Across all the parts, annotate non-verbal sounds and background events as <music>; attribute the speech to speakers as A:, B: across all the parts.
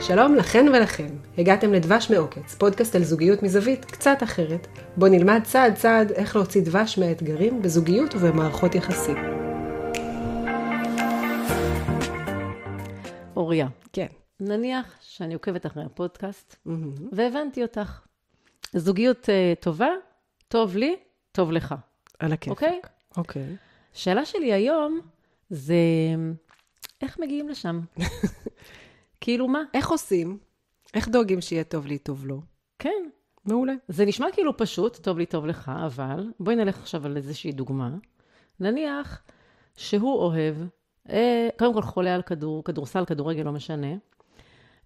A: שלום לכן ולכם, הגעתם לדבש מעוקץ, פודקאסט על זוגיות מזווית קצת אחרת, בו נלמד צעד צעד איך להוציא דבש מהאתגרים בזוגיות ובמערכות יחסים.
B: אוריה,
A: כן.
B: נניח שאני עוקבת אחרי הפודקאסט,
A: מהמם.
B: והבנתי אותך. זוגיות אה, טובה, טוב לי, טוב לך,
A: על הכיף.
B: אוקיי?
A: אוקיי.
B: השאלה שלי היום זה, איך מגיעים לשם? כאילו מה?
A: איך עושים? איך דואגים שיהיה טוב לי, טוב לו?
B: כן,
A: מעולה.
B: זה נשמע כאילו פשוט, טוב לי, טוב לך, אבל בואי נלך עכשיו על איזושהי דוגמה. נניח שהוא אוהב, אה, קודם כל חולה על כדור, כדורסל, כדורגל, לא משנה.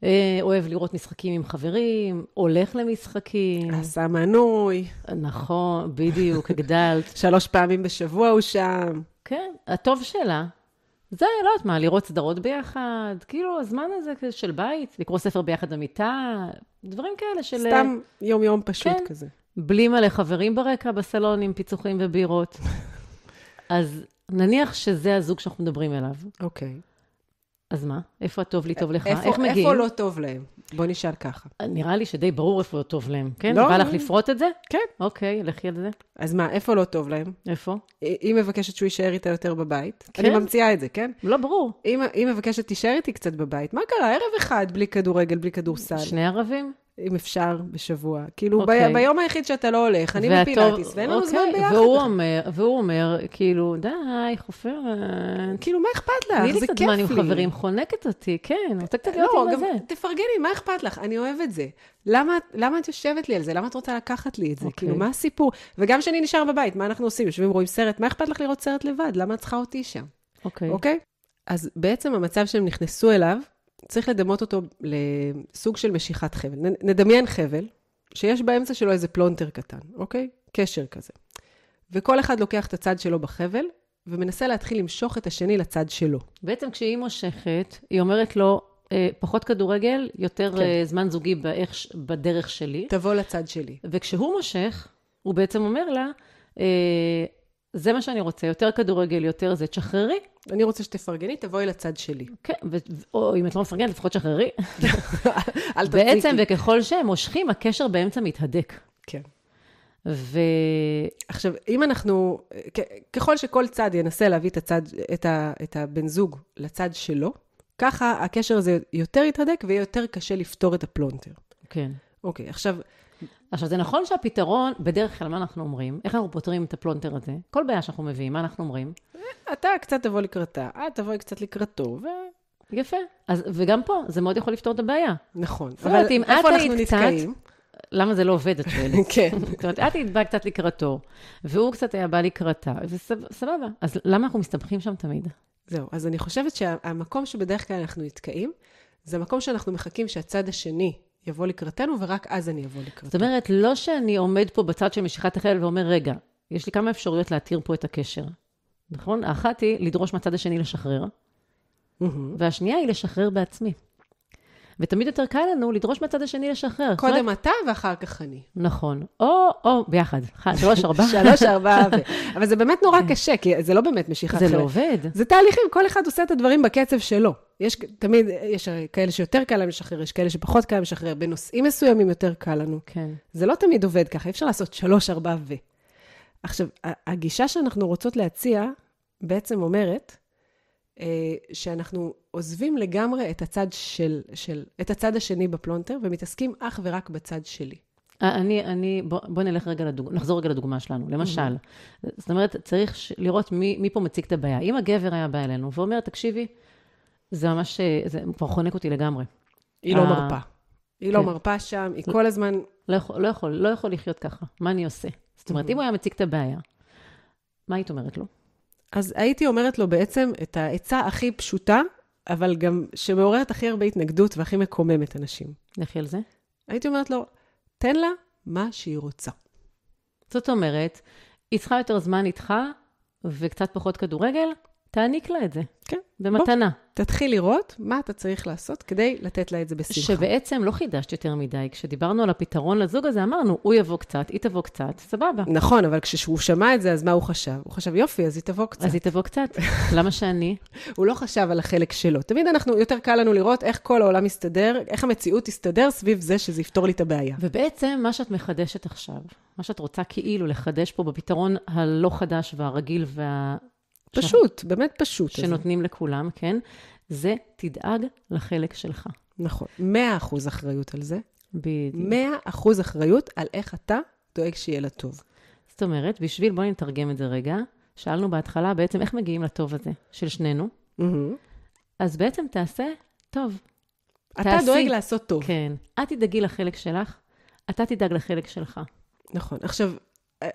B: אה, אוהב לראות משחקים עם חברים, הולך למשחקים.
A: עשה מנוי,
B: נכון,
A: <laughs>
B: בדיוק, הגדלת.
A: שלוש פעמים בשבוע הוא שם.
B: כן, הטוב שלה. זה, לא יודעת מה, לראות סדרות ביחד, כאילו, הזמן הזה כזה של בית, לקרוא ספר ביחד במיטה, דברים כאלה של...
A: סתם יום-יום פשוט
B: כן.
A: כזה.
B: בלי מלא חברים ברקע בסלון עם פיצוחים
A: <laughs>
B: ובירות. אז נניח שזה הזוג שאנחנו מדברים עליו,
A: אוקיי.
B: אז מה? איפה הטוב לי, טוב לך?
A: איפה-
B: איך מגיעים?
A: איפה לא טוב להם? בוא נשאל ככה.
B: נראה לי שדי ברור איפה טוב להם, כן?
A: לא,
B: בא לך
A: לא.
B: לפרוט את זה?
A: כן.
B: אוקיי, לכי על זה.
A: אז מה, איפה לא טוב להם?
B: איפה?
A: היא מבקשת שהוא יישאר איתה יותר בבית.
B: כן.
A: אני ממציאה את זה, כן?
B: לא ברור.
A: אם היא מבקשת תישאר איתי קצת בבית, מה קרה? ערב אחד בלי כדורגל, בלי כדורסל,
B: שני ערבים?
A: אם אפשר, בשבוע. כאילו, ב-
B: אוקיי.
A: ביום היחיד שאתה לא הולך, אני
B: והטוב-
A: בפילאטיס, ואין לנו
B: אוקיי,
A: זמן ביחד.
B: והוא אומר, והוא אומר, כאילו, די, חופרת.
A: כאילו, מה אכפת
B: תני
A: לך?
B: לי
A: זה
B: קצת
A: כיף
B: זמן
A: לי.
B: עם חברים, חונקת אותי, כן, רוצה קצת להיות
A: לא,
B: עם
A: גם
B: הזה.
A: תפרגני, מה אכפת לך? אני אוהב את זה. למה, למה את יושבת לי על זה? למה את רוצה לקחת לי את זה? Okay.
B: אוקיי.
A: כאילו, מה הסיפור? וגם כשאני נשאר בבית, מה אנחנו עושים? יושבים, רואים סרט, מה אכפת לך לראות סרט לבד? למה את צריכה אותי שם?
B: אוקיי.
A: אוקיי? אז בעצם המצב שהם נכנסו אליו, צריך לדמות אותו לסוג של משיכת חבל. נ- נדמיין חבל, שיש באמצע שלו איזה פלונטר קטן, אוקיי? קשר כזה. וכל אחד לוקח את הצד שלו בחבל, ומנסה להתחיל למשוך את השני לצד שלו.
B: בעצם כשהיא מושכת, היא אומרת לו, אה, פחות כדורגל, יותר
A: כן.
B: אה, זמן זוגי באיך, ש- בדרך שלי.
A: תבוא לצד שלי.
B: וכשהוא מושך, הוא בעצם אומר לה, אה, זה מה שאני רוצה, יותר כדורגל, יותר זה, תשחררי.
A: אני רוצה שתפרגני, תבואי לצד שלי.
B: כן, ו- ו- או אם את לא מפרגנת, לפחות תשחררי.
A: אל תציקי.
B: בעצם, וככל שהם מושכים, הקשר באמצע מתהדק.
A: כן.
B: ו...
A: עכשיו, אם אנחנו, כ- ככל שכל צד ינסה להביא את, הצד, את, ה, את הבן זוג לצד שלו, ככה הקשר הזה יותר יתהדק ויהיה יותר קשה לפתור את הפלונטר.
B: כן.
A: אוקיי, עכשיו,
B: עכשיו, זה נכון שהפתרון, בדרך כלל, מה אנחנו אומרים? איך אנחנו פותרים את הפלונטר הזה? כל בעיה שאנחנו מביאים, מה אנחנו אומרים?
A: אתה קצת תבוא לקראתה, את תבואי קצת לקראתו, ו...
B: יפה. אז, וגם פה, זה מאוד יכול לפתור את הבעיה.
A: נכון.
B: זאת אומרת, אם
A: איפה
B: את
A: אנחנו
B: היית
A: נתקעים?
B: למה זה לא עובד, את שואלת?
A: כן.
B: <laughs> זאת אומרת, את היית באה קצת לקראתו, והוא קצת היה בא לקראתה, וסבבה. אז למה אנחנו מסתבכים שם תמיד?
A: זהו, אז אני חושבת שהמקום שבדרך כלל אנחנו נתקעים, זה המקום שאנחנו מחכים שהצד השני יבוא לקראתנו, ורק אז אני אבוא
B: זאת
A: לקראתו.
B: אומרת, לא שאני עומד פה בצד של משיכת החבל ואומר, רגע, יש לי כמה אפשרויות להתיר פה את הקשר. נכון? האחת היא לדרוש מהצד השני לשחרר,
A: מהמם.
B: והשנייה היא לשחרר בעצמי. ותמיד יותר קל לנו לדרוש מהצד השני לשחרר. זאת אומרת,
A: קודם אתה ואחר כך אני.
B: נכון. או, או, ביחד. אחת, שלוש, ארבע.
A: <laughs>
B: כן.
A: שלוש, ארבע ו... אבל זה באמת נורא קשה, כי זה לא באמת משיכת
B: זה
A: חבל.
B: לא עובד.
A: זה תהליכים, כל אחד עושה את הדברים בקצב שלו. יש תמיד, יש הרי כאלה שיותר קל להם לשחרר, יש כאלה שפחות קל להם לשחרר, בנושאים מסוימים יותר קל לנו.
B: כן.
A: זה לא תמיד עובד ככה, אי אפשר לעשות שלוש, ארבע ו... עכשיו, ה- הגישה שאנחנו רוצות להציע בעצם אומרת אה, שאנחנו עוזבים לגמרי את הצד, של, של, את הצד השני בפלונטר ומתעסקים אך ורק בצד שלי.
B: אה, אני, אני, בוא, בוא נלך רגע לדוג... נחזור רגע לדוגמה שלנו. למשל, זאת אומרת, צריך ש... לראות מי, מי פה מציג את הבעיה. אם הגבר היה בא אלינו ואומר, תקשיבי, זה ממש, אה, זה כבר חונק אותי לגמרי.
A: היא לא
B: אה.
A: מרפה. היא לא
B: כן.
A: מרפה שם, היא כל הזמן
B: לא יכול, לא יכול, לא יכול לחיות ככה. מה אני עושה? זאת אומרת, אם הוא היה מציג את הבעיה, מה היית אומרת לו?
A: אז הייתי אומרת לו בעצם את העצה הכי פשוטה, אבל גם שמעוררת הכי הרבה התנגדות והכי מקוממת אנשים.
B: לכי על זה.
A: הייתי אומרת לו, תן לה מה שהיא רוצה.
B: זאת אומרת, היא צריכה יותר זמן איתך וקצת פחות כדורגל, תעניק לה את זה.
A: כן,
B: במתנה.
A: תתחיל לראות מה אתה צריך לעשות כדי לתת לה את זה בשמחה.
B: שבעצם לא חידשת יותר מדי. כשדיברנו על הפתרון לזוג הזה, אמרנו, הוא יבוא קצת, היא תבוא קצת, סבבה.
A: נכון, אבל כשהוא שמע את זה, אז מה הוא חשב? הוא חשב, יופי, אז היא תבוא קצת.
B: אז היא תבוא
A: <laughs>
B: קצת. למה שאני?
A: הוא לא חשב על החלק שלו. תמיד אנחנו, יותר קל לנו לראות איך כל העולם מסתדר, איך המציאות תסתדר סביב זה שזה יפתור לי את הבעיה.
B: ובעצם, מה שאת מחדשת עכשיו, מה שאת רוצה כאילו לחדש פה בפתרון הלא חדש והרגיל וה...
A: פשוט, באמת פשוט. הזה.
B: שנותנים לכולם, כן? זה תדאג לחלק שלך.
A: נכון. 100% אחריות על זה.
B: בדיוק.
A: 100% אחריות על איך אתה דואג שיהיה לה טוב.
B: זאת אומרת, בשביל, בואי נתרגם את זה רגע. שאלנו בהתחלה בעצם איך מגיעים לטוב הזה של שנינו.
A: מהמם.
B: אז בעצם תעשה טוב.
A: אתה
B: תעשי.
A: דואג לעשות טוב.
B: כן. את תדאגי לחלק שלך, אתה תדאג לחלק שלך.
A: נכון. עכשיו, אה,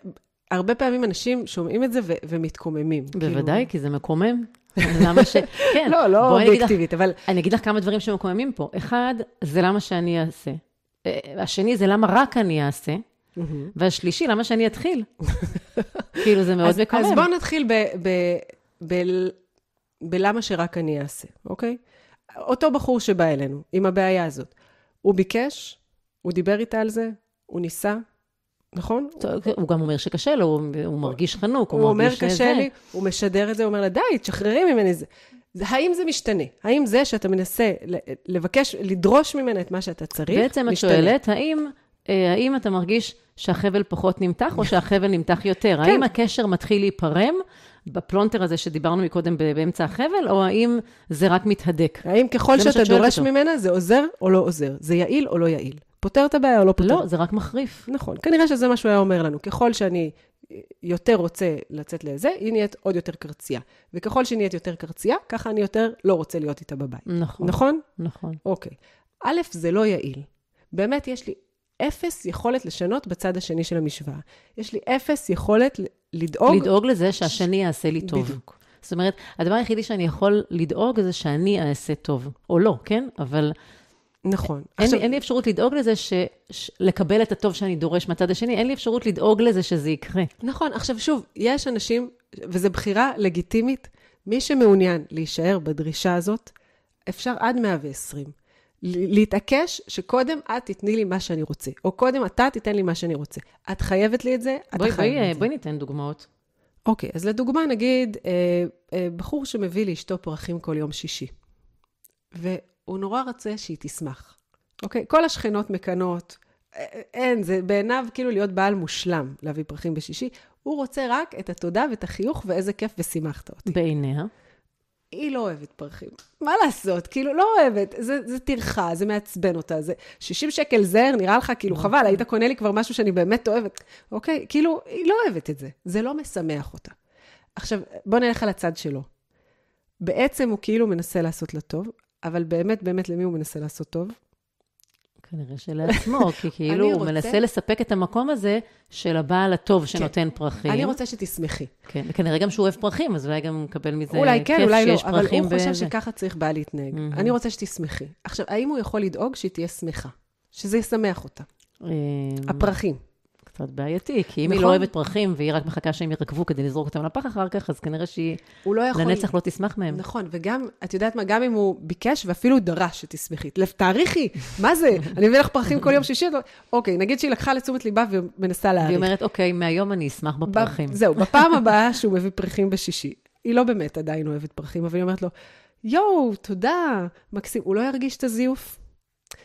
A: הרבה פעמים אנשים שומעים את זה ו- ומתקוממים.
B: בוודאי, כי זה מקומם. כאילו- <laughs> למה ש... כן.
A: כאילו... לא, לא
B: בואי אני אגיד לך-
A: אובייקטיבית, אבל
B: אני אגיד לך כמה דברים שמקוממים פה. אחד, זה למה שאני אעשה. אה, השני, זה למה רק אני אעשה. והשלישי, למה שאני אתחיל.
A: <laughs>
B: כאילו, זה מאוד
A: אז,
B: מקומם.
A: אז בואו נתחיל ב, ב, ב, בלמה שרק אני אעשה, אוקיי? אותו בחור שבא אלינו עם הבעיה הזאת, הוא ביקש, הוא דיבר איתה על זה, הוא ניסה, נכון?
B: טוב, הוא גם אומר שקשה לו, הוא- הוא מרגיש חנוק, הוא
A: הוא אומר
B: מרגיש
A: קשה
B: זה.
A: לי, הוא משדר את זה, הוא אומר לה, די, תשחררי ממני את זה. זה- האם זה משתנה? האם זה שאתה מנסה ל- לבקש, לדרוש ממנה את מה שאתה צריך,
B: בעצם את
A: משתנה?
B: שואלת, האם, אה, האם אתה מרגיש שהחבל פחות נמתח או שהחבל נמתח יותר?
A: כן.
B: האם הקשר מתחיל להיפרם בפלונטר הזה שדיברנו מקודם ב- באמצע החבל, או האם זה רק מתהדק?
A: האם ככל
B: זה מה
A: שאתה
B: שאת שואלת
A: דורש
B: אותו.
A: ממנה, זה עוזר או לא עוזר? זה יעיל או לא יעיל? פותר את הבעיה או לא פותר?
B: לא, זה רק מחריף.
A: נכון, כנראה שזה מה שהוא היה אומר לנו. ככל שאני יותר רוצה לצאת לזה, היא נהיית עוד יותר קרצייה. וככל שהיא נהיית יותר קרצייה, ככה אני יותר לא רוצה להיות איתה בבית.
B: נכון,
A: נכון?
B: נכון.
A: אוקיי. א', זה לא יעיל. באמת, יש לי אפס יכולת לשנות בצד השני של המשוואה. יש לי אפס יכולת ל- לדאוג...
B: לדאוג לזה שהשני יעשה לי טוב.
A: בדיוק.
B: זאת אומרת, הדבר היחידי שאני יכול לדאוג זה שאני אעשה טוב, או לא, כן? אבל
A: נכון.
B: אין, לי- אין לי אפשרות לדאוג לזה, ש, ש, לקבל את הטוב שאני דורש מהצד השני, אין לי אפשרות לדאוג לזה שזה יקרה.
A: נכון, עכשיו שוב, יש אנשים, וזו בחירה לגיטימית, מי שמעוניין להישאר בדרישה הזאת, אפשר עד 120. ל- להתעקש שקודם את תתני לי מה שאני רוצה, או קודם אתה תיתן לי מה שאני רוצה. את חייבת לי את זה, אתה
B: בואי,
A: חייב לי
B: בואי,
A: את זה.
B: בואי ניתן דוגמאות.
A: אוקיי, אז לדוגמה, נגיד, אה, אה, בחור שמביא לאשתו פרחים כל יום שישי, והוא נורא רוצה שהיא תשמח. אוקיי? כל השכנות מקנות, אה, אה, אין, זה בעיניו כאילו להיות בעל מושלם להביא פרחים בשישי. הוא רוצה רק את התודה ואת החיוך ואיזה כיף ושימחת אותי.
B: בעיניה.
A: היא לא אוהבת פרחים. מה לעשות? כאילו, לא אוהבת. זה, זה טרחה, זה מעצבן אותה. זה 60 שקל זר, נראה לך
B: לא.
A: כאילו חבל, היית קונה לי כבר משהו שאני באמת אוהבת. אוקיי? כאילו, היא לא אוהבת את זה. זה לא משמח אותה. עכשיו, בוא נלך על הצד שלו. בעצם הוא כאילו מנסה לעשות לה טוב, אבל באמת, באמת, למי הוא מנסה לעשות טוב?
B: כנראה
A: <laughs>
B: שלעצמו, כי כאילו
A: אני
B: הוא
A: רוצה- כן.
B: מנסה לספק את המקום הזה של הבעל הטוב שנותן פרחים.
A: אני רוצה שתשמחי.
B: כן, וכנראה גם שהוא אוהב פרחים, אז אולי גם הוא מקבל מזה
A: אולי
B: כיף
A: כן, אולי לא,
B: שיש
A: אבל
B: פרחים
A: הוא חושב
B: בזה.
A: שככה צריך בעל להתנהג.
B: Mhm.
A: אני רוצה שתשמחי. עכשיו, האם הוא יכול לדאוג שהיא תהיה שמחה? שזה ישמח אותה.
B: אה,
A: הפרחים.
B: קצת בעייתי, כי אם היא
A: נכון.
B: לא אוהבת פרחים והיא רק מחכה שהם ירקבו כדי לזרוק אותם לפח אחר כך, אז כנראה שהיא
A: הוא לא יכול...
B: לנצח לא תשמח מהם.
A: נכון, וגם, את יודעת מה, גם אם הוא ביקש ואפילו דרש שתשמחי, "לב, תעריכי, מה
B: <laughs>
A: זה? אני מביא לך פרחים כל יום שישי? לא- אוקיי, נגיד שהיא לקחה לתשומת ליבה ומנסה
B: והיא
A: להעריך.
B: אומרת, אוקיי, מהיום אני אשמח
A: ב-
B: בפרחים.
A: זהו, בפעם הבאה שהוא מביא פרחים בשישי, היא לא באמת עדיין אוהבת פרחים, אבל היא אומרת לו, יואו, תודה, מקסים, הוא לא ירגיש את הזיוף?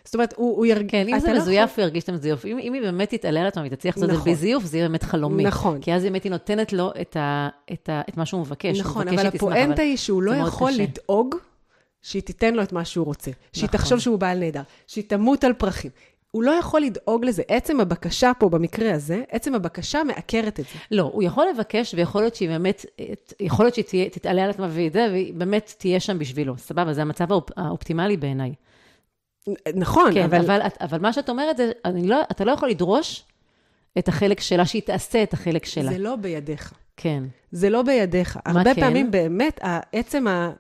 A: זאת אומרת, הוא, הוא ירגיש...
B: כן, אם זה מזויף, הוא ירגיש את המזויף. אם אם היא באמת תתעלה על עצמה והיא תצליח לעשות את זה
A: לא נכון.
B: בלי זיוף, זה יהיה באמת חלומי.
A: נכון.
B: כי אז באמת היא נותנת לו את ה- את ה- את מה שהוא מבקש. הוא
A: נכון,
B: מבקש
A: אבל
B: שהיא תשמח,
A: הפואנטה היא שהוא לא
B: זה מאוד
A: יכול
B: קשה.
A: לדאוג שהיא תיתן לו את מה שהוא רוצה, שהיא
B: נכון.
A: תחשוב שהוא בעל נהדר, שהיא תמות על פרחים. הוא לא יכול לדאוג לזה. עצם הבקשה פה, במקרה הזה, עצם הבקשה מעקרת את זה.
B: לא, הוא יכול לבקש, ויכול להיות שהיא באמת, יכול להיות שהיא תהיה- תתעלה על עצמה והיא זה, והיא באמת תהיה שם בשבילו. סבבה, זה המצב האופ- האופטימלי בעיניי.
A: נכון,
B: כן,
A: אבל...
B: אבל, את- אבל מה שאת אומרת זה, אני לא, אתה לא יכול לדרוש את החלק שלה, שהיא תעשה את החלק שלה.
A: זה לא בידיך.
B: כן.
A: זה לא בידיך.
B: מה
A: הרבה
B: כן?
A: פעמים באמת, ה- עצם ה...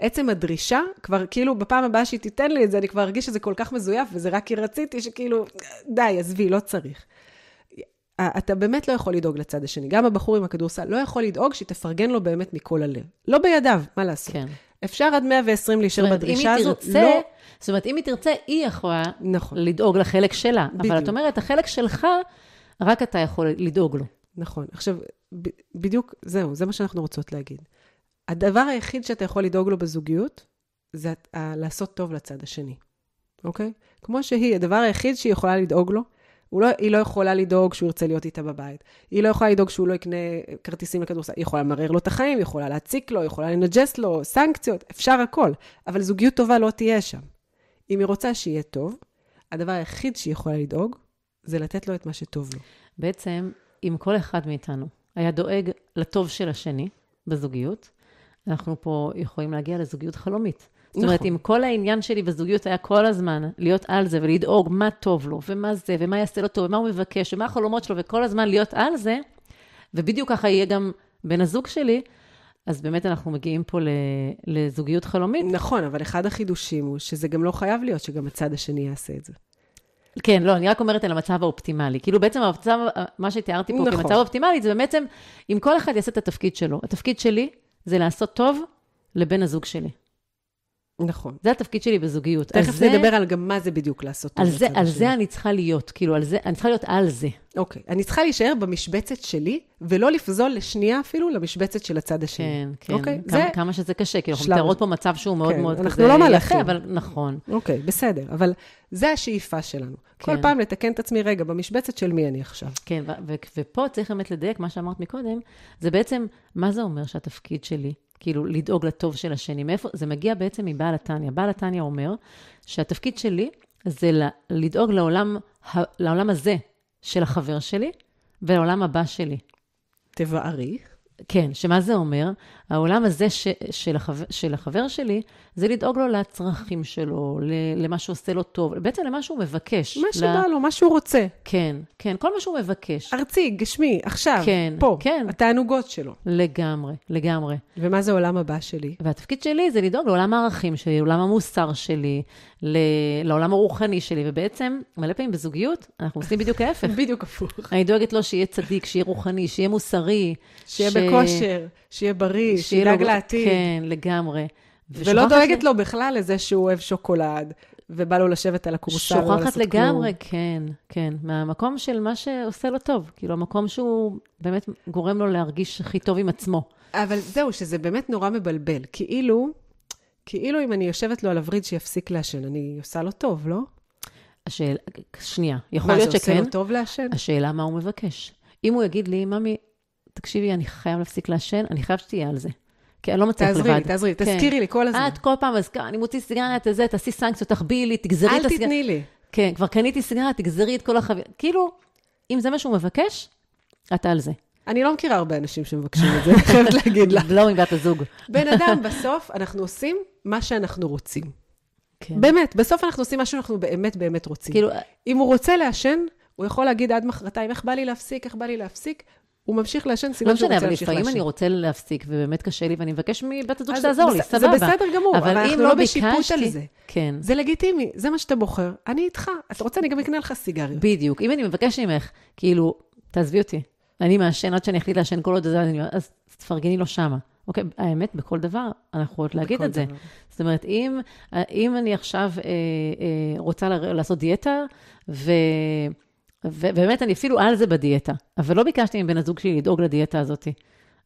A: עצם הדרישה, כבר כאילו בפעם הבאה שהיא תיתן לי את זה, אני כבר ארגיש שזה כל כך מזויף, וזה רק כי רציתי שכאילו, די, עזבי, לא צריך. ה- אתה באמת לא יכול לדאוג לצד השני. גם הבחור עם הכדורסל לא יכול לדאוג שהיא תפרגן לו באמת מכל הלב. לא בידיו, מה לעשות.
B: כן.
A: אפשר עד 120
B: זאת
A: להישאר
B: אומרת, אם
A: בדרישה
B: היא
A: הזאת.
B: תרצה,
A: לא,
B: זאת אומרת, אם היא תרצה, היא יכולה
A: נכון,
B: לדאוג לחלק שלה. אבל את
A: בדיוק.
B: אומרת, החלק שלך, רק אתה יכול לדאוג לו.
A: נכון. עכשיו, ב- בדיוק, זהו, זה מה שאנחנו רוצות להגיד. הדבר היחיד שאתה יכול לדאוג לו בזוגיות, זה הת- ה- לעשות טוב לצד השני, אוקיי? כמו שהיא, הדבר היחיד שהיא יכולה לדאוג לו, הוא לא, היא לא יכולה לדאוג שהוא ירצה להיות איתה בבית. היא לא יכולה לדאוג שהוא לא יקנה כרטיסים לכדורסל. היא יכולה למרר לו את החיים, היא יכולה להציק לו, היא יכולה לנג'ס לו, סנקציות, אפשר הכל. אבל זוגיות טובה לא תהיה שם. אם היא רוצה שיהיה טוב, הדבר היחיד שהיא יכולה לדאוג, זה לתת לו את מה שטוב לו.
B: בעצם, אם כל אחד מאיתנו היה דואג לטוב של השני בזוגיות, אנחנו פה יכולים להגיע לזוגיות חלומית. זאת אומרת,
A: נכון.
B: אם כל העניין שלי בזוגיות היה כל הזמן להיות על זה ולדאוג מה טוב לו, ומה זה, ומה יעשה לו טוב, ומה הוא מבקש, ומה החלומות שלו, וכל הזמן להיות על זה, ובדיוק ככה יהיה גם בן הזוג שלי, אז באמת אנחנו מגיעים פה ל- לזוגיות חלומית.
A: נכון, אבל אחד החידושים הוא שזה גם לא חייב להיות שגם הצד השני יעשה את זה.
B: כן, לא, אני רק אומרת על המצב האופטימלי. כאילו בעצם המצב, מה שתיארתי פה
A: נכון.
B: כמצב אופטימלי, זה בעצם, אם כל אחד יעשה את התפקיד שלו, התפקיד שלי זה לעשות טוב לבן הזוג שלי.
A: נכון.
B: זה התפקיד שלי בזוגיות.
A: תכף
B: על זה,
A: נדבר על גם מה זה בדיוק לעשות טוב
B: על זה,
A: לצד
B: על
A: השני.
B: זה אני צריכה להיות, כאילו, על זה, אני צריכה להיות על זה.
A: אוקיי. אני צריכה להישאר במשבצת שלי, ולא לפזול לשנייה אפילו למשבצת של הצד השני.
B: כן, כן.
A: אוקיי,
B: כמה,
A: זה-
B: כמה שזה קשה, כאילו, אנחנו
A: שלב.
B: מתארות פה מצב שהוא מאוד
A: כן,
B: מאוד
A: אנחנו
B: כזה
A: לא
B: יפה,
A: מלאכים.
B: אבל נכון.
A: אוקיי, בסדר. אבל זה השאיפה שלנו. כל
B: כן.
A: פעם לתקן את עצמי, רגע, במשבצת של מי אני עכשיו?
B: כן, ו- ו- ופה צריך באמת לדייק מה שאמרת מקודם, זה בעצם, מה זה אומר שהתפקיד שלי, כאילו, לדאוג לטוב של השני? מאיפה, זה מגיע בעצם מבעל התניא. בעל התניא אומר שהתפקיד שלי זה ל- לדאוג לעולם, ה- לעולם הזה של החבר שלי ולעולם הבא שלי.
A: תבערי.
B: כן, שמה זה אומר? העולם הזה ש, של, החבר, של החבר שלי, זה לדאוג לו לצרכים שלו, ל- למה שעושה לו טוב, בעצם למה שהוא מבקש.
A: מה
B: ל-
A: שבא לו, מה שהוא רוצה.
B: כן, כן, כל מה שהוא מבקש.
A: ארצי, גשמי, עכשיו,
B: כן,
A: פה.
B: כן.
A: התענוגות שלו.
B: לגמרי, לגמרי.
A: ומה זה עולם הבא שלי?
B: והתפקיד שלי זה לדאוג לעולם הערכים שלי, לעולם המוסר שלי, ל- לעולם הרוחני שלי, ובעצם, מלא פעמים בזוגיות, אנחנו עושים
A: <laughs>
B: בדיוק ההפך.
A: בדיוק הפוך.
B: אני דואגת לו שיהיה צדיק, שיהיה רוחני, שיהיה מוסרי.
A: שיהיה
B: ש-
A: בכושר, שיהיה בריא, שידאג
B: לו-
A: לעתיד.
B: כן, לגמרי.
A: ולא
B: ושוכחת
A: דואגת לו בכלל לזה שהוא אוהב שוקולד, ובא לו לשבת על הכורסה, לא
B: שוכחת
A: לעשות
B: לגמרי, כן, כן. מהמקום של מה שעושה לו טוב. כאילו, המקום שהוא באמת גורם לו להרגיש הכי טוב עם עצמו.
A: כלום. אבל זהו, שזה באמת נורא מבלבל. כאילו, כאילו אם אני יושבת לו על הווריד שיפסיק לעשן, אני עושה לו טוב, לא?
B: השאלה, שנייה, יכול
A: מה, זה
B: להיות
A: עושה
B: שכן.
A: לו טוב לעשן?
B: השאלה מה הוא מבקש. אם הוא יגיד לי, ממי, תקשיבי, אני חייב להפסיק לעשן, אני חייב שתהיה על זה. כי אני לא מצליח לבד.
A: תעזרי לי, תעזרי לי,
B: כן.
A: תזכירי לי כל הזמן.
B: את כל פעם, אז כ- אני מוציא סיגריה, את זה, תעשי סנקציות, תחביאי לי, תגזרי את
A: אל
B: הסיגריה.
A: תתני לי.
B: כן, כבר קניתי סיגריה, תגזרי את כל החבילה. כאילו, אם זה מה שהוא מבקש, אתה על
A: <laughs>
B: זה.
A: אני לא מכירה הרבה אנשים שמבקשים
B: <laughs>
A: את זה, אני חייבת להגיד לך.
B: לא עם בת הזוג.
A: בן אדם, בסוף אנחנו עושים מה שאנחנו רוצים.
B: כן.
A: באמת, בסוף אנחנו עושים מה שאנחנו באמת באמת רוצים.
B: כאילו,
A: אם הוא רוצה לעשן, הוא יכול להגיד עד מחרתיים, איך בא לי להפסיק, איך בא לי להפסיק, הוא ממשיך לעשן,
B: לא
A: סימן שהוא
B: משנה,
A: רוצה
B: אבל
A: להמשיך
B: לפעמים
A: לעשן.
B: אני רוצה להפסיק, ובאמת קשה לי, ואני מבקש מבת הזוג
A: אז
B: שתעזור לי,
A: בס-
B: סבבה.
A: זה בסדר גמור, אבל
B: אם
A: אנחנו לא בשיפוט על
B: ביקשתי-
A: זה.
B: כן.
A: זה לגיטימי, זה מה שאתה בוחר, אני איתך. אתה רוצה, אני גם אקנה לך סיגריות.
B: בדיוק. אם אני מבקשת ממך, כאילו, תעזבי אותי. אני מעשן עד שאני אחליט לעשן כל עוד זה, אני- אז תפרגני לו שמה. אוקיי, האמת, בכל דבר, אנחנו יכולות להגיד
A: בכל
B: את זה.
A: דבר.
B: זאת אומרת, אם, אם אני עכשיו אה, אה, רוצה ל- לעשות דיאטה, ו... ובאמת, אני אפילו על זה בדיאטה, אבל לא ביקשתי מבן הזוג שלי לדאוג לדיאטה הזאת.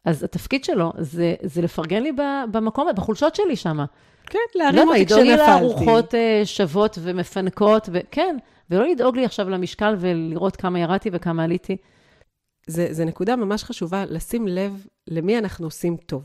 B: אז התפקיד שלו זה, זה לפרגן לי ב- במקום, בחולשות שלי שמה.
A: כן,
B: לא
A: להרים
B: יודעת,
A: אותי
B: לדאוג לי
A: כשנפלתי.
B: לארוחות אה, שוות ומפנקות, ו- כן, ולא לדאוג לי עכשיו למשקל ולראות כמה ירדתי וכמה עליתי.
A: זה זה נקודה ממש חשובה, לשים לב למי אנחנו עושים טוב.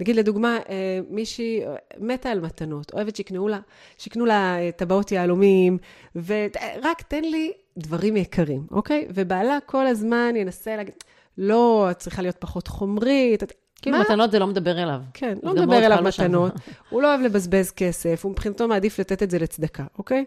A: נגיד, לדוגמה, אה, מישהי אה, מתה על מתנות, אוהבת שיקנו לה, שיקנו לה אה, טבעות יהלומים, ורק תן לי דברים יקרים, אוקיי? ובעלה כל הזמן ינסה להגיד, לא, את צריכה להיות פחות חומרית. את...
B: כאילו,
A: מה?
B: מתנות זה לא מדבר אליו.
A: כן,
B: אז
A: לא
B: גם
A: מדבר
B: מאוד
A: אליו
B: קל לו שם.
A: מתנות, הוא לא אוהב לבזבז כסף, הוא מבחינתו מעדיף לתת את זה לצדקה, אוקיי?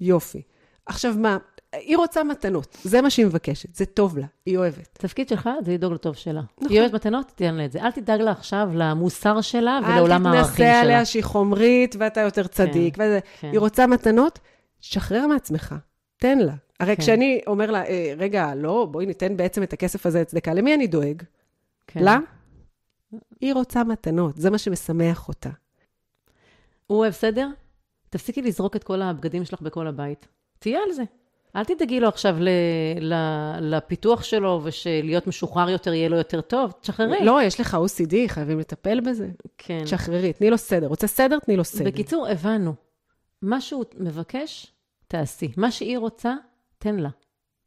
A: יופי. עכשיו מה, היא רוצה מתנות, זה מה שהיא מבקשת, זה טוב לה, היא אוהבת.
B: התפקיד שלך זה לדאוג לטוב שלה.
A: נכון.
B: היא אוהבת מתנות, תתן לה את זה. אל תדאג לה עכשיו למוסר שלה אה, ולעולם
A: אל
B: הערכים
A: תתנסה
B: שלה.
A: עליה שהיא חומרית ואתה יותר צדיק. וזה.
B: כן.
A: היא רוצה מתנות, שחרר מעצמך, תן לה. הרי
B: כן.
A: כשאני אומר לה, "אה, רגע, לא, בואי ניתן בעצם את הכסף הזה לצדקה, למי אני דואג?
B: כן.
A: לה? היא רוצה מתנות, זה מה שמשמח אותה.
B: הוא אוהב סדר? תפסיקי לזרוק את כל הבגדים שלך בכל הבית. תהיה על זה. אל תדאגי לו עכשיו ל, ל, לפיתוח שלו, ושלהיות משוחרר יותר יהיה לו יותר טוב. תשחררי.
A: לא, יש לך OCD, חייבים לטפל בזה.
B: כן.
A: תשחררי, תני לו סדר. רוצה סדר? תני לו סדר.
B: בקיצור, הבנו. מה שהוא מבקש, תעשי. מה שהיא רוצה, תן לה.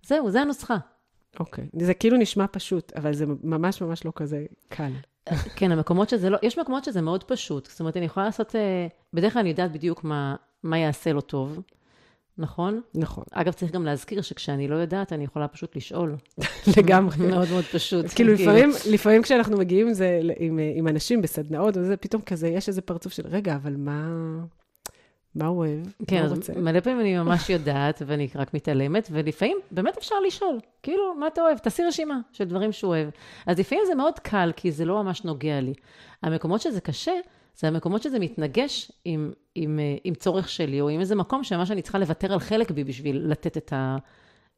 B: זהו, זה הנוסחה.
A: אוקיי. זה כאילו נשמע פשוט, אבל זה ממש ממש לא כזה קל.
B: כן, המקומות שזה לא, יש מקומות שזה מאוד פשוט. זאת אומרת, אני יכולה לעשות, אה, בדרך כלל אני יודעת בדיוק מה, מה יעשה לו טוב, נכון?
A: נכון,
B: אגב, צריך גם להזכיר שכשאני לא יודעת, אני יכולה פשוט לשאול. <laughs>
A: נכון. <laughs> לגמרי.
B: מאוד מאוד פשוט. כן,
A: כאילו, לפעמים, לפעמים כשאנחנו מגיעים עם זה, עם, עם אנשים בסדנאות, וזה פתאום כזה, יש איזה פרצוף של, רגע, אבל מה, מה הוא אוהב?
B: <laughs> כן,
A: מה הוא
B: אז
A: לא רוצה?
B: מלא פעמים אני ממש יודעת, ואני רק מתעלמת, ולפעמים באמת אפשר לשאול, כאילו, מה אתה אוהב? תעשי רשימה של דברים שהוא אוהב. אז לפעמים זה מאוד קל, כי זה לא ממש נוגע לי. המקומות שזה קשה, זה המקומות שזה מתנגש עם, עם, אה, עם צורך שלי, או עם איזה מקום שממש אני צריכה לוותר על חלק בי בשביל לתת את, ה,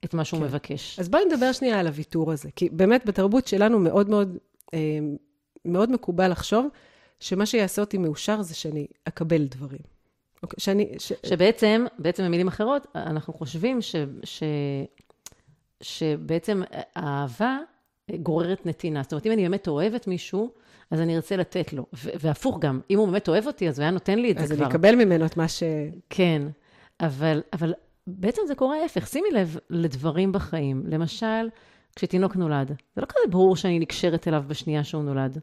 B: את מה שהוא
A: כן.
B: מבקש.
A: אז בואי נדבר שנייה על הוויתור הזה, כי באמת בתרבות שלנו מאוד מאוד, אה, מאוד מקובל לחשוב שמה שיעשה אותי מאושר זה שאני אקבל דברים. אוקיי, שאני, ש...
B: שבעצם, בעצם במילים אחרות, אנחנו חושבים ש, ש, שבעצם האהבה גוררת נתינה. זאת אומרת, אם אני באמת אוהבת מישהו, אז אני ארצה לתת לו. ו- והפוך גם, אם הוא באמת אוהב אותי, אז הוא היה נותן לי את
A: אז
B: זה
A: אני
B: כבר.
A: אקבל ממנו את מה ש...
B: כן, אבל, אבל בעצם זה קורה ההפך. שימי לב לדברים בחיים. למשל, כשתינוק נולד, זה לא כזה ברור שאני נקשרת אליו בשנייה שהוא נולד.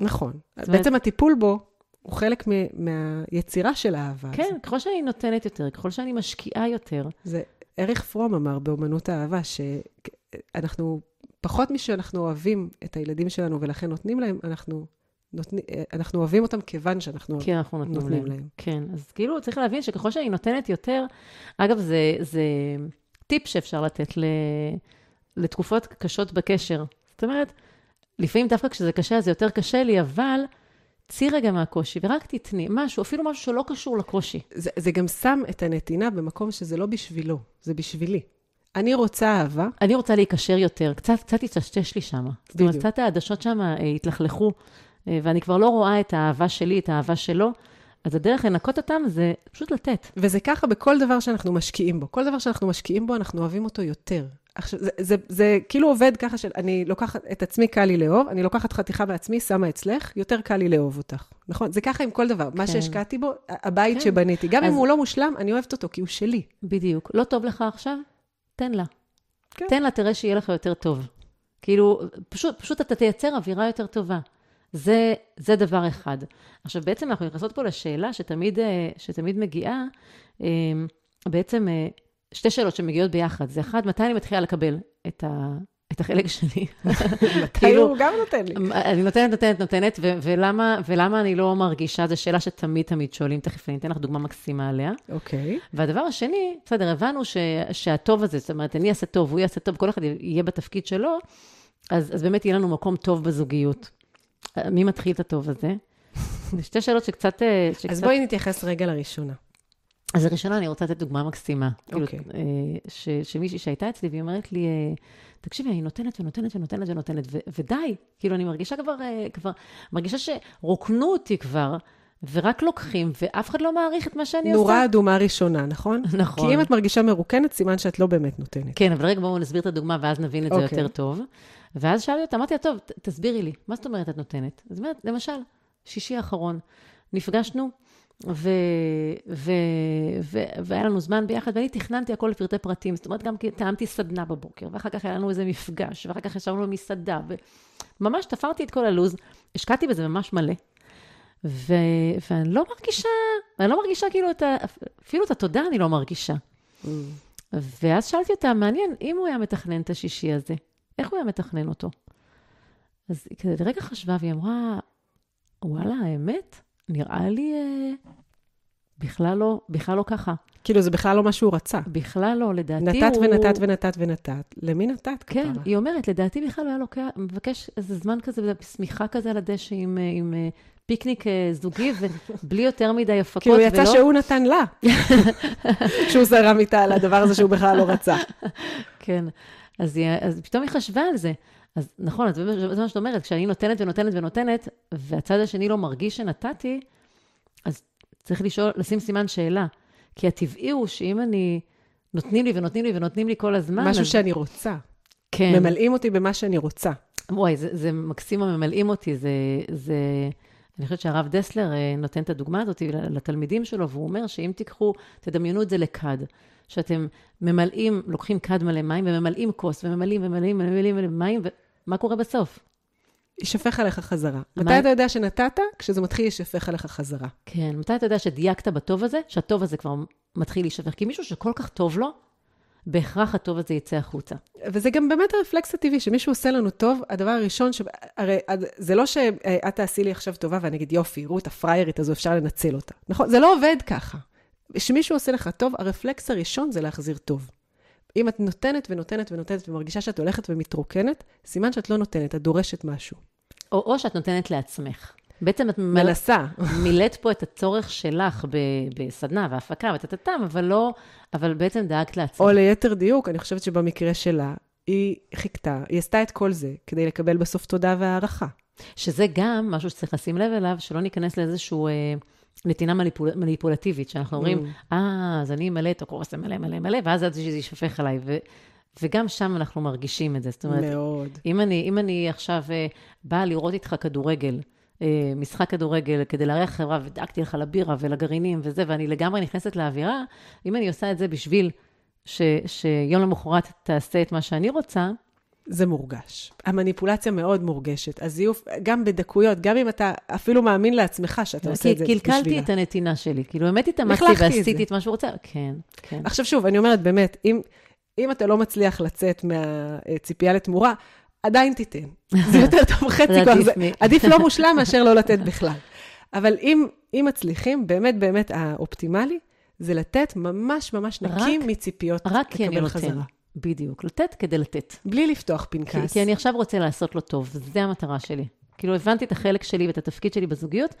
A: נכון. אז
B: אומרת-
A: בעצם הטיפול בו הוא חלק מ- מהיצירה של האהבה.
B: כן, ככל שאני נותנת יותר, ככל שאני משקיעה יותר,
A: זה אריך פרום אמר באומנות האהבה, שאנחנו, פחות משאנחנו אוהבים את הילדים שלנו ולכן נותנים להם, אנחנו, נותני, אנחנו אוהבים אותם כיוון שאנחנו
B: כי אנחנו כן, נותנים להם.
A: נותנים להם.
B: כן, אז כאילו צריך להבין שככל שאני נותנת יותר, אגב, זה, זה טיפ שאפשר לתת ל, לתקופות קשות בקשר. זאת אומרת, לפעמים דווקא כשזה קשה, אז זה יותר קשה לי, אבל צאי רגע מהקושי ורק תתני משהו, אפילו משהו שלא קשור לקושי.
A: זה, זה גם שם את הנתינה במקום שזה לא בשבילו, זה בשבילי. אני רוצה אהבה,
B: אני רוצה להיקשר יותר, קצת, קצת התשתש לי שם. זאת אומרת,
A: בדיוק.
B: קצת העדשות שם אה, התלכלכו, אה, ואני כבר לא רואה את האהבה שלי, את האהבה שלו, אז הדרך לנקות אותם זה פשוט לתת.
A: וזה ככה בכל דבר שאנחנו משקיעים בו. כל דבר שאנחנו משקיעים בו, אנחנו אוהבים אותו יותר. עכשיו, זה, זה, זה כאילו עובד ככה של, אני לוקחת את עצמי, קל לי לאהוב, אני לוקחת חתיכה מעצמי, שמה אצלך, יותר קל לי לאהוב אותך. נכון? זה ככה עם כל דבר. מה
B: כן.
A: שהשקעתי בו, ה- הבית
B: כן.
A: שבניתי. גם
B: אז-
A: אם הוא לא מושלם, אני אוהבת אותו, כי הוא שלי.
B: בדיוק. לא טוב לך עכשיו? תן לה.
A: כן.
B: כן. תן לה, תראה שיהיה לך יותר טוב. כאילו, פשוט, פשוט אתה תייצר אווירה יותר טובה. זה, זה דבר אחד. עכשיו, בעצם אנחנו נכנסות פה לשאלה שתמיד, אה, שתמיד מגיעה, אה, בעצם אה, שתי שאלות שמגיעות ביחד. זה אחד, מתי אני מתחילה לקבל את, ה, את החלק שלי? <laughs>
A: כאילו, הוא גם נותן לי.
B: אני נותנת, נותנת, נותנת, ו- ולמה, ולמה אני לא מרגישה? זו שאלה שתמיד תמיד שואלים, תכף אני אתן לך דוגמה מקסימה עליה.
A: אוקיי.
B: והדבר השני, בסדר, הבנו ש, שהטוב הזה, זאת אומרת, אני אעשה טוב, הוא יעשה טוב, כל אחד יהיה בתפקיד שלו, אז, אז באמת יהיה לנו מקום טוב בזוגיות. מי מתחיל את הטוב
A: <laughs>
B: הזה? זה שתי שאלות שקצת... אה, שקצת...
A: אז בואי נתייחס רגע לראשונה.
B: אז הראשונה, אני רוצה לתת דוגמה מקסימה.
A: אוקיי.
B: כאילו, אה, ש, שמישהי שהייתה אצלי, והיא אומרת לי, אה, תקשיבי, אני נותנת ונותנת ונותנת ונותנת, ו, ודי. כאילו, אני מרגישה כבר, אה, כבר, מרגישה שרוקנו אותי כבר, ורק לוקחים, ואף אחד לא מעריך את מה שאני עושה.
A: נורה אדומה ראשונה, נכון?
B: <laughs> נכון.
A: כי אם את מרגישה מרוקנת, סימן שאת לא באמת נותנת.
B: כן, אבל רגע, בואו נסביר את הדוגמה, ואז נבין את זה
A: אוקיי.
B: יותר טוב. ואז שאלתי אותה, אמרתי לה, טוב, ת- תסבירי לי, מה זאת אומרת את נותנת? אז היא אומרת, למשל, שישי האחרון, נפגשנו, ו... ו... ו... והיה לנו זמן ביחד, ואני תכננתי הכל לפרטי פרטים. זאת אומרת, גם כי טעמתי סדנה בבוקר, ואחר כך היה לנו איזה מפגש, ואחר כך ישבנו במסעדה, וממש תפרתי את כל הלו"ז, השקעתי בזה ממש מלא. ו... ואני לא מרגישה, אני לא מרגישה כאילו את ה... אפילו את התודה אני לא מרגישה. ואז שאלתי אותה, מעניין, אם הוא היה מתכנן את השישי הזה, איך הוא היה מתכנן אותו? אז היא כזה לרגע חשבה, והיא אמרה, וואלה, האמת, נראה לי, אה, בכלל לא, בכלל לא ככה.
A: כאילו, זה בכלל לא מה שהוא רצה.
B: בכלל לא, לדעתי
A: נתת
B: הוא...
A: ונתת ונתת ונתת. למי נתת כפרה?
B: כן, היא אומרת, לדעתי בכלל הוא היה לוקח, מבקש איזה זמן כזה, שמיכה כזה על הדשא עם, אה, עם אה, פיקניק אה, זוגי, ובלי יותר מדי הפקות.
A: כאילו, יצא
B: ולא-
A: שהוא נתן
B: <laughs>
A: לה. שהוא זרם איתה על הדבר הזה שהוא בכלל לא רצה.
B: <laughs> כן. אז, היא- אז פתאום היא חשבה על זה. אז נכון, אז זה זה מה שאת אומרת, כשאני נותנת ונותנת ונותנת, והצד השני לא מרגיש שנתתי, אז צריך לשאול, לשים סימן שאלה. כי הטבעי הוא שאם אני, נותנים לי ונותנים לי ונותנים לי כל הזמן,
A: משהו
B: אז...
A: שאני רוצה.
B: כן.
A: ממלאים אותי במה שאני רוצה.
B: וואי, זה, זה מקסים הממלאים אותי, זה, זה... אני חושבת שהרב דסלר אה, נותן את הדוגמה הזאת לתלמידים שלו, והוא אומר שאם תיקחו, תדמיינו את זה לכד, שאתם ממלאים, לוקחים כד מלא מים וממלאים כוס, וממלאים וממלאים וממלאים מלא מים, ומה קורה בסוף?
A: יישפך עליך חזרה.
B: מה-
A: מתי אתה יודע שנתת? כשזה מתחיל להישפך עליך חזרה.
B: כן, מתי אתה יודע שדייקת בטוב הזה, שהטוב הזה כבר מתחיל להישפך? כי מישהו שכל כך טוב לו, בהכרח הטוב הזה יצא החוצה.
A: וזה גם באמת הרפלקס הטבעי, שמישהו עושה לנו טוב, הדבר הראשון, ש... הרי עד- זה לא שאת תעשי לי עכשיו טובה ואני אגיד, יופי, רות הפריירית הזו, אפשר לנצל אותה. נכון? זה לא עובד ככה. כשמישהו עושה לך טוב, הרפלקס הראשון זה להחזיר טוב. אם את נותנת ונותנת ונותנת ומרגישה שאת הולכת ומתרוקנת, סימן שאת לא נותנת, את דורשת משהו.
B: או, או שאת נותנת לעצמך. בעצם את ממלאת
A: מנסה.
B: מילאת פה את הצורך שלך ב, בסדנה והפקה וטטטם, אבל לא, אבל בעצם דאגת לעצמך.
A: או ליתר דיוק, אני חושבת שבמקרה שלה, היא חיכתה, היא עשתה את כל זה כדי לקבל בסוף תודה והערכה.
B: שזה גם משהו שצריך לשים לב אליו, שלא ניכנס לאיזשהו אה, נתינה מניפול, מניפולטיבית, שאנחנו
A: Mm.
B: אומרים, אה, אז אני אמלא את הכורס מלא מלא מלא, ואז עד שזה יישפך עליי. ו, וגם שם אנחנו מרגישים את זה. זאת אומרת,
A: מאוד.
B: אם אני, אם אני עכשיו אה, באה לראות איתך כדורגל, אה, משחק כדורגל, כדי לארח חברה, ודאגתי לך לבירה ולגרעינים וזה, ואני לגמרי נכנסת לאווירה, אם אני עושה את זה בשביל ש, שיום למחרת תעשה את מה שאני רוצה,
A: זה מורגש. המניפולציה מאוד מורגשת. הזיוף, גם בדקויות, גם אם אתה אפילו מאמין לעצמך שאתה עושה
B: כי
A: את זה
B: קלקלתי
A: בשבילה.
B: את הנתינה שלי. כאילו, באמת התאמצתי
A: לכלכתי את
B: ועשיתי
A: זה.
B: את מה שהוא רוצה. כן, כן.
A: עכשיו שוב, אני אומרת, באמת, אם, אם אתה לא מצליח לצאת מהציפייה לתמורה, עדיין
B: <laughs>
A: תיתן. זה יותר טוב
B: זה
A: חצי כוח.
B: עדיף
A: זה-
B: מ-
A: עדיף לא מושלם מאשר לא לתת בכלל. אבל אם, אם מצליחים, באמת באמת האופטימלי, זה לתת ממש ממש נקי
B: רק-
A: מציפיות
B: רק כי אני
A: לקבל
B: נותן.
A: חזרה.
B: בדיוק. לתת כדי לתת.
A: בלי לפתוח פנקס.
B: כי, כי אני עכשיו רוצה לעשות לו טוב, זה המטרה שלי. כאילו, הבנתי את החלק שלי ואת התפקיד שלי בזוגיות,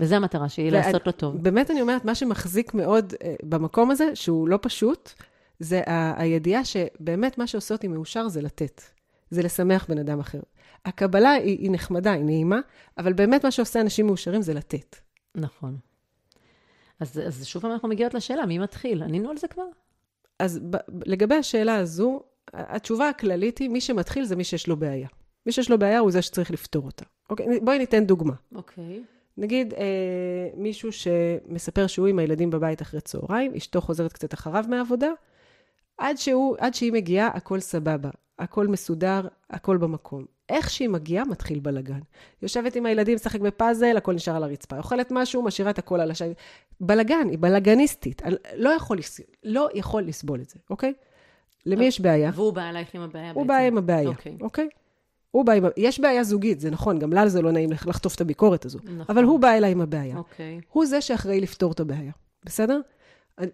B: וזה המטרה שלי,
A: ואת-
B: לעשות לו טוב.
A: באמת אני אומרת, מה שמחזיק מאוד אה, במקום הזה, שהוא לא פשוט, זה ה- הידיעה שבאמת מה שעושה אותי מאושר זה לתת. זה לשמח בן אדם אחר. הקבלה היא, היא נחמדה, היא נעימה, אבל באמת מה שעושה אנשים מאושרים זה לתת.
B: נכון. אז, אז שוב פעם אנחנו מגיעות לשאלה, מי מתחיל? ענינו על זה כבר?
A: אז ב- ב- לגבי השאלה הזו, ה- התשובה הכללית היא, מי שמתחיל זה מי שיש לו בעיה. מי שיש לו בעיה הוא זה שצריך לפתור אותה. אוקיי, נ- בואי ניתן דוגמה.
B: אוקיי.
A: נגיד אה, מישהו שמספר שהוא עם הילדים בבית אחרי צהריים, אשתו חוזרת קצת אחריו מהעבודה, עד, שהוא, עד שהיא מגיעה, הכל סבבה, הכל מסודר, הכל במקום. איך שהיא מגיעה, מתחיל בלגן. יושבת עם הילדים, משחק בפאזל, הכל נשאר על הרצפה. אוכלת משהו, משאירה את הכל על השי... בלגן, היא בלגניסטית. אני לא יכול, לס... לא יכול לסבול את זה, אוקיי? למי יש בעיה?
B: והוא בא אלייך עם הבעיה
A: הוא בא עם הבעיה,
B: אוקיי.
A: אוקיי? הוא בא עם... יש בעיה זוגית, זה נכון, גם לה זה לא נעים לח- לחטוף את הביקורת הזו.
B: נכון.
A: אבל הוא בא אליי עם הבעיה. אה.
B: אוקיי.
A: הוא זה שאחראי לפתור את הבעיה, בסדר?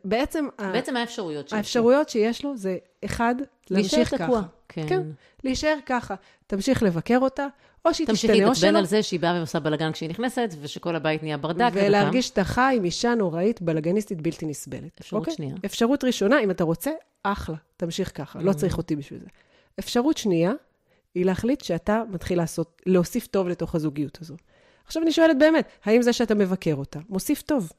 A: בעצם, ה-
B: בעצם האפשרויות שיש.
A: האפשרויות שיש לו זה, אחד, להמשיך ככה.
B: כן.
A: כן, להישאר ככה. תמשיך לבקר אותה, או שהיא
B: תמשיכי
A: תשתנה או
B: להתעצבן
A: שלא,
B: על זה שהיא באה ועושה בלאגן כשהיא נכנסת, ושכל הבית נהיה ברדק.
A: ולהרגיש שאתה חי עם אישה נוראית, בלגניסטית, בלתי נסבלת. אוקיי?
B: אפשרות שנייה. Mm.
A: אפשרות ראשונה, אם אתה רוצה, אחלה, תמשיך ככה, לא צריך אותי בשביל זה. אפשרות שנייה, היא להחליט שאתה מתחיל לעשות, להוסיף טוב לתוך הזוגיות הזו. עכשיו אני שואלת באמת, האם זה שאתה מבקר אותה, מוסיף טוב?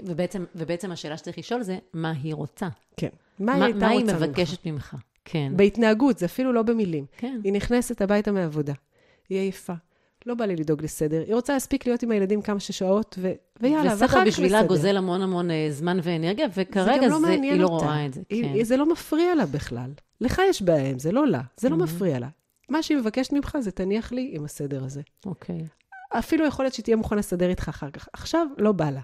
B: וגם- ובעצם- ובעצם השאלה שצריך לשאול זה, מה היא רוצה?
A: כן. מה היא
B: מה
A: הייתה
B: מה היא
A: רוצה ממך?
B: מבקשת ממך? כן.
A: בהתנהגות, זה אפילו לא במילים.
B: כן.
A: היא נכנסת הביתה מהעבודה, היא עייפה, לא בא לי לדאוג לסדר, היא רוצה להספיק להיות עם הילדים כמה ששעות, ו... ויאללה, ואחר כך
B: וסחר
A: נסדר.
B: בשבילה גוזל המון המון אה, זמן ואנרגיה, וכרגע
A: גם
B: זה-
A: מעניין
B: היא לא
A: אותה.
B: רואה את זה.
A: היא,
B: כן.
A: היא, זה לא מפריע לה בכלל. לך יש בעיה עם זה, לא לה. זה לא
B: Mm-hmm.
A: מפריע לה. מה שהיא מבקשת ממך זה תניח לי עם הסדר הזה.
B: אוקיי.
A: אפילו יכול להיות שהיא תהיה מוכנה לסדר איתך אחר כך. עכשיו לא בא לה.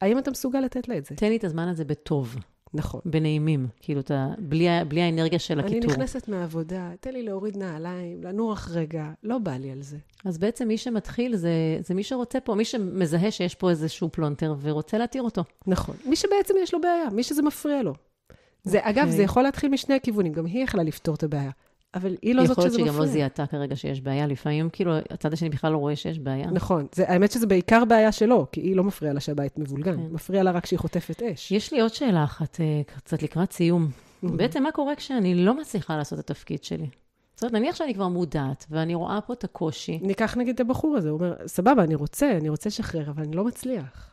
A: האם אתה מסוגל לתת לה את זה?
B: תן לי את הזמן הזה בטוב.
A: נכון.
B: בנעימים, כאילו, אתה, בלי, ה- בלי האנרגיה של
A: אני
B: הקיטור.
A: נכנסת מהעבודה, תן לי להוריד נעליים, לנוח רגע, לא בא לי על זה.
B: אז בעצם מי שמתחיל זה, זה מי שרוצה פה, מי שמזהה שיש פה איזשהו פלונטר ורוצה להתיר אותו.
A: נכון. מי שבעצם יש לו בעיה, מי שזה מפריע לו. זה, אגב,
B: אוקיי.
A: זה יכול להתחיל משני הכיוונים, גם היא יכלה לפתור את הבעיה, אבל היא לא זאת
B: יכול
A: שזה
B: להיות
A: מפריע.
B: שהיא גם לא זיהתה כרגע שיש בעיה, לפעמים כאילו הצד השני בכלל לא רואה שיש בעיה.
A: נכון. זה, האמת שזה בעיקר בעיה שלו, כי היא לא מפריעה לה שהבית מבולגן,
B: כן.
A: מפריע לה רק שהיא חוטפת אש.
B: יש לי עוד שאלה אחת, אה, קצת לקראת סיום. בעצם מה קורה כשאני לא מצליחה לעשות את התפקיד שלי? זאת אומרת, נניח שאני כבר מודעת, ואני רואה פה את הקושי.
A: ניקח נגיד את הבחור הזה, הוא אומר, סבבה, אני רוצה, אני רוצה לשחרר, אבל אני לא מצליח.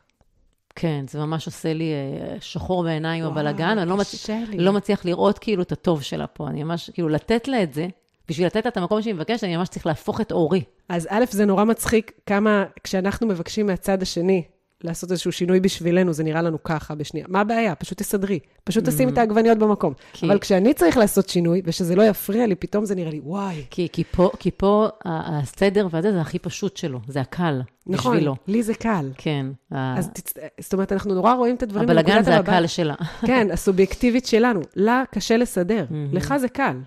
B: כן, זה ממש עושה לי אה, שחור בעיניים,
A: וואו,
B: הבלגן, אני לא, מצ...
A: קשה לי.
B: לא מצליח לראות כאילו את הטוב שלה פה. אני ממש, כאילו, לתת לה את זה, בשביל לתת לה את המקום שהיא מבקשת, אני ממש צריך להפוך את אורי.
A: אז א', זה נורא מצחיק כמה כשאנחנו מבקשים מהצד השני לעשות איזשהו שינוי בשבילנו, זה נראה לנו ככה בשנייה. מה הבעיה? פשוט תסדרי. פשוט תשים את העגבניות במקום.
B: Mm. כי-
A: אבל כשאני צריך לעשות שינוי, ושזה לא יפריע לי, פתאום זה נראה לי, וואי.
B: כי, כי, פה, כי פה ה- הסדר והזה זה הכי פשוט שלו, זה הקל
A: נכון,
B: בשבילו.
A: לי זה קל.
B: כן. ה-
A: אז תצ... זאת אומרת, אנחנו נורא רואים את הדברים
B: הבלגן
A: מנקודת
B: זה
A: המבט.
B: הקל שלה.
A: כן, הסובייקטיבית שלנו. לה קשה לסדר, לך זה קל.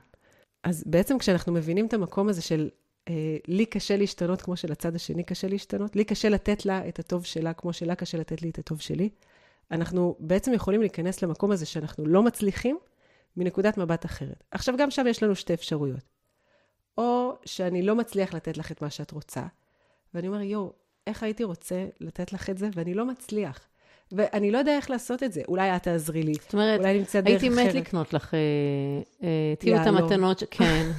A: אז בעצם כשאנחנו מבינים את המקום הזה של אה, לי קשה להשתנות כמו שלצד השני קשה להשתנות, לי קשה לתת לה את הטוב שלה כמו שלה קשה לתת לי את הטוב שלי, אנחנו בעצם יכולים להיכנס למקום הזה שאנחנו לא מצליחים מנקודת מבט אחרת. עכשיו, גם שם יש לנו שתי אפשרויות. או שאני לא מצליח לתת לך את מה שאת רוצה, ואני אומר, יואו, איך הייתי רוצה לתת לך את זה, ואני לא מצליח. ואני לא יודע איך לעשות את זה. אולי את תעזרי לי.
B: זאת אומרת,
A: אולי נמצא דרך
B: הייתי
A: אחרת.
B: מת לקנות לך, אה, אה, תראו את
A: יהלום.
B: המתנות, ש-
A: <laughs>
B: כן.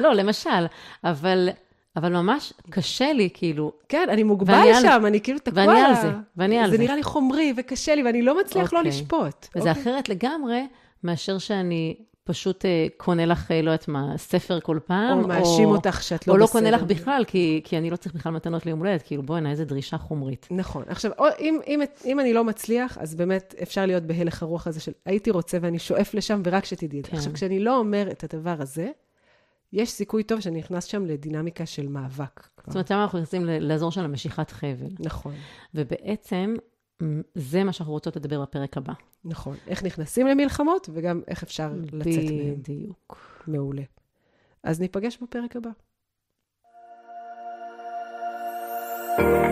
B: לא, למשל, אבל, אבל ממש קשה לי, כאילו,
A: כן, אני מוגבל
B: ואני על-
A: שם, אני כאילו תקוע.
B: ואני על זה, ואני על
A: זה
B: זה.
A: נראה לי חומרי וקשה לי, ואני לא מצליח לא
B: אוקיי.
A: לשפוט.
B: זה אחרת לגמרי מאשר שאני פשוט אה, קונה לך, אה, לא יודעת מה, ספר כל פעם,
A: או מאשים אותך שאת לא
B: או
A: בסדר.
B: לא קונה לך בכלל, כי, כי אני לא צריך בכלל מתנות ליום הולדת, כאילו, בואנה, איזה דרישה חומרית.
A: נכון. עכשיו, או, אם, אם, אם אני לא מצליח, אז באמת אפשר להיות בהלך הרוח הזה של הייתי רוצה ואני שואף לשם, ורק שתדעי את זה.
B: כן.
A: עכשיו, כשאני לא אומר את הדבר הזה, יש סיכוי טוב שאני נכנס שם לדינמיקה של מאבק.
B: זאת אומרת, למה אנחנו נכנסים ל- לאזור של המשיכת חבל?
A: נכון,
B: ובעצם, מ, זה מה שאנחנו רוצות לדבר בפרק הבא.
A: נכון. איך נכנסים למלחמות, וגם איך אפשר לצאת מהן.
B: בדיוק.
A: מעולה. אז ניפגש בפרק הבא.